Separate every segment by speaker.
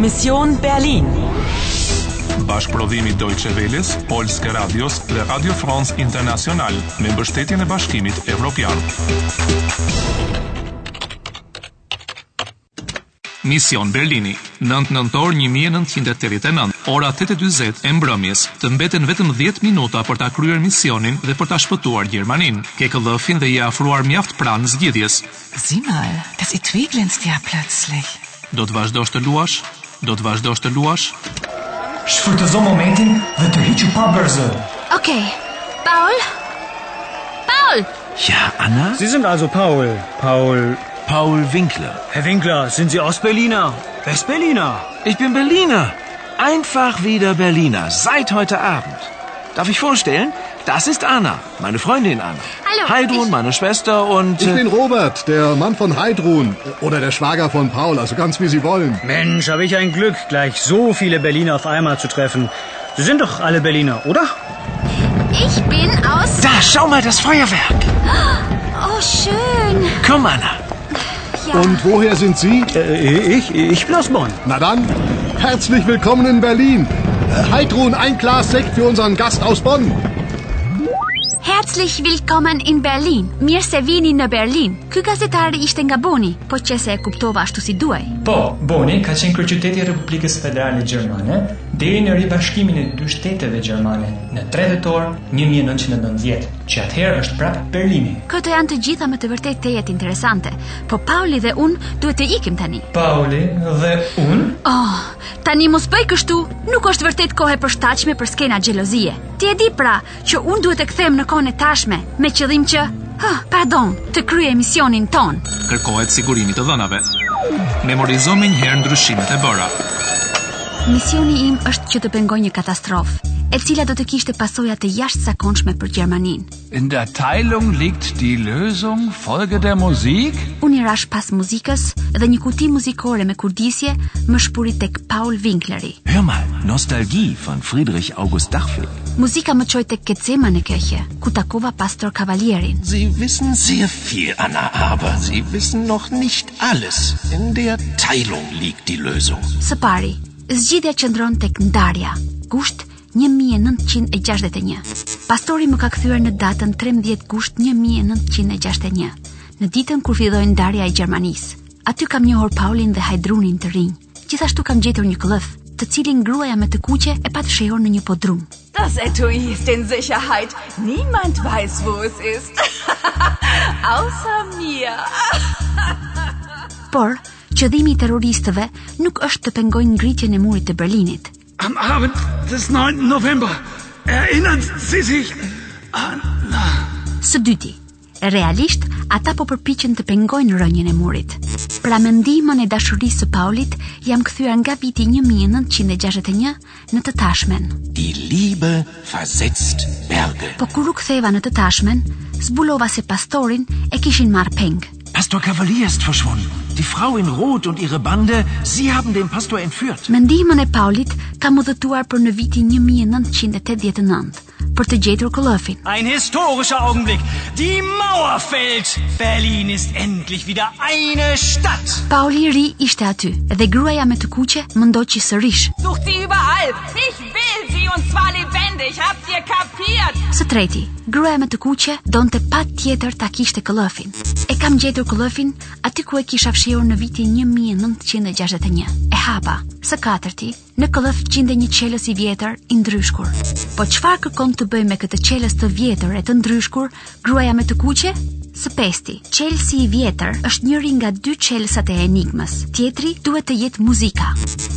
Speaker 1: Mission Berlin.
Speaker 2: Bashkëprodhimi Deutsche Welles, Polske Radios dhe Radio France International me mbështetjen e Bashkimit Evropian. Mision Berlini, 9 nëntor 1989, ora 8:40 e mbrëmjes. Të mbeten vetëm 10 minuta për ta kryer misionin dhe për ta shpëtuar Gjermaninë. Ke këllëfin dhe i afruar mjaft pranë zgjidhjes.
Speaker 3: Sieh mal, das Etui glänzt ja plötzlich.
Speaker 2: Do të vazhdosh të luash? Do të vazhdosh të luash?
Speaker 4: Shfrytëzo momentin dhe të hiqu pa bërë
Speaker 5: Okay. Paul? Paul!
Speaker 6: Ja, Anna?
Speaker 7: Sie sind also Paul. Paul.
Speaker 6: Paul Winkler.
Speaker 7: Herr Winkler, sind Sie Ostberliner? Westberliner?
Speaker 6: Ich bin Berliner. Einfach wieder Berliner. Seit heute Abend. Darf ich vorstellen? Das ist Anna, meine Freundin Anna.
Speaker 5: Hallo,
Speaker 6: Heidrun,
Speaker 5: ich-
Speaker 6: meine Schwester und...
Speaker 8: Ich
Speaker 6: äh,
Speaker 8: bin Robert, der Mann von Heidrun. Oder der Schwager von Paul, also ganz wie Sie wollen.
Speaker 7: Mensch, habe ich ein Glück, gleich so viele Berliner auf einmal zu treffen. Sie sind doch alle Berliner, oder?
Speaker 5: Ich bin aus...
Speaker 6: Da, schau mal das Feuerwerk.
Speaker 5: Oh, schön.
Speaker 6: Komm, Anna.
Speaker 5: Ja.
Speaker 8: Und woher sind Sie?
Speaker 7: Äh, ich, ich bin aus Bonn.
Speaker 8: Na dann, herzlich willkommen in Berlin. Äh, Heidrun, ein Glas Sekt für unseren Gast aus Bonn.
Speaker 5: Herzlich willkommen in Berlin. Mirë se vini në Berlin. Ky gazetar ishte nga Boni, po që se e kuptova ashtu si duaj.
Speaker 4: Po, Boni ka qenë kryeqyteti i Republikës Federale Gjermane deri në ribashkimin e dy shteteve gjermane në 3 tetor 1990, që atëherë është prapë Berlini.
Speaker 5: Këto janë të gjitha me të vërtet të jetë interesante, po Pauli dhe unë duhet të ikim tani.
Speaker 4: Pauli dhe unë
Speaker 5: Oh, tani mos bëj kështu, nuk është vërtet kohë e përshtatshme për skena xhelozie. Ti e di pra që unë duhet të kthehem në kohën e tashme, me qëllim që, ha, pardon, të kryej misionin ton.
Speaker 2: Kërkohet sigurimi të dhënave. Memorizo me njëherë ndryshimet e bëra.
Speaker 5: Misioni im është që të pengoj një katastrofë, e cila do të kishte pasoja të jashtëzakonshme për Gjermaninë.
Speaker 9: In der Teilung liegt die Lösung. Folge der Musik.
Speaker 5: Unë i rash pas muzikës dhe një kuti muzikore me kurdisje më shpuri tek Paul Winkleri.
Speaker 6: Hör mal, Nostalgie von Friedrich August Dachfeld.
Speaker 5: Muzika më çoi tek Kecema në këqje, ku takova Pastor Kavalierin.
Speaker 6: Sie wissen sehr viel, Anna, aber Sie wissen noch nicht alles. In der Teilung liegt die Lösung.
Speaker 5: Së pari, zgjidhja qëndron tek ndarja, gusht 1961. Pastori më ka kthyer në datën 13 gusht 1961, në ditën kur filloi ndarja e Gjermanisë. Aty kam njohur Paulin dhe Hajdrunin të rinj. Gjithashtu kam gjetur një këllëf, të cilin gruaja me të kuqe e pa të shehur në një podrum.
Speaker 3: Das Etui ist in Sicherheit. Niemand weiß, wo es ist. Außer mir.
Speaker 5: Por, qëllimi i terroristëve nuk është të pengojnë ngritjen e murit të Berlinit.
Speaker 9: Am Abend des 9. November. Erinnern Sie sich an...
Speaker 5: Së dyti, realisht, ata po përpiqen të pengojnë rënjën e murit. Pra me ndihmën e dashurisë së Paulit, jam kthyer nga viti 1961 në të tashmen.
Speaker 6: Die Liebe versetzt Berge.
Speaker 5: Po kur u ktheva në të tashmen, zbulova se pastorin e kishin marr peng.
Speaker 6: Pastor Cavalier ist verschwunden. Die Frau in Rot und ihre Bande, sie haben den Pastor entführt.
Speaker 5: Me ndihmën e Paulit kam udhëtuar për në vitin 1989 për të gjetur këllëfin.
Speaker 7: Ein historischer Augenblick. Die Mauer fällt. Berlin ist endlich wieder eine Stadt.
Speaker 5: Pauli i ri ishte aty dhe gruaja me të kuqe më ndoqi sërish.
Speaker 3: Sucht sie überall. Ich will sie und zwar lebendig. Habt ihr kapiert?
Speaker 5: Së treti, gruaja me të kuqe donte pa tjetër ta kishte këllëfin. E kam gjetur këllëfin aty ku e kisha fshirë në vitin 1961. E hapa, së katërti, në këllëf gjinde një qelës i vjetër i ndryshkur. Po çfarë kërkon të bëj me këtë qelës të vjetër e të ndryshkur gruaja me të kuqe? Së pesti, qelësi i vjetër është njëri nga dy qelësat e enigmës. Tjetri duhet të jetë muzika.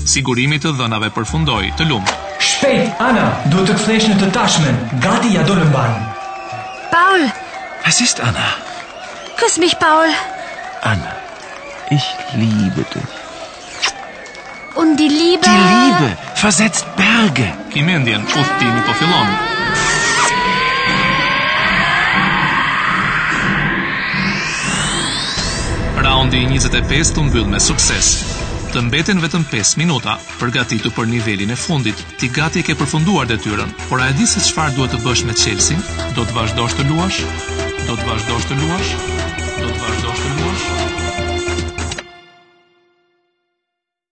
Speaker 2: Sigurimi të dhënave përfundoi të lumë.
Speaker 4: Shpejt, Ana, duhet të kthesh në të tashmen. Gati ja do në banjë.
Speaker 5: Paul,
Speaker 6: Was ist, Anna?
Speaker 5: kës mich Paul.
Speaker 6: Anna, ich liebe dich.
Speaker 5: Unë di libe.
Speaker 6: Die Liebe versetzt Berge.
Speaker 2: Kimendjen, udhtimi po fillon. Raundi i 25 të mbyll me sukses. Të mbeten vetëm 5 minuta, përgatitu për nivelin e fundit. Ti gati e ke përfunduar detyrën, por a e di se çfarë duhet të bësh me Chelsea? Do të vazhdosh të luash? Do të vazhdosh të luash?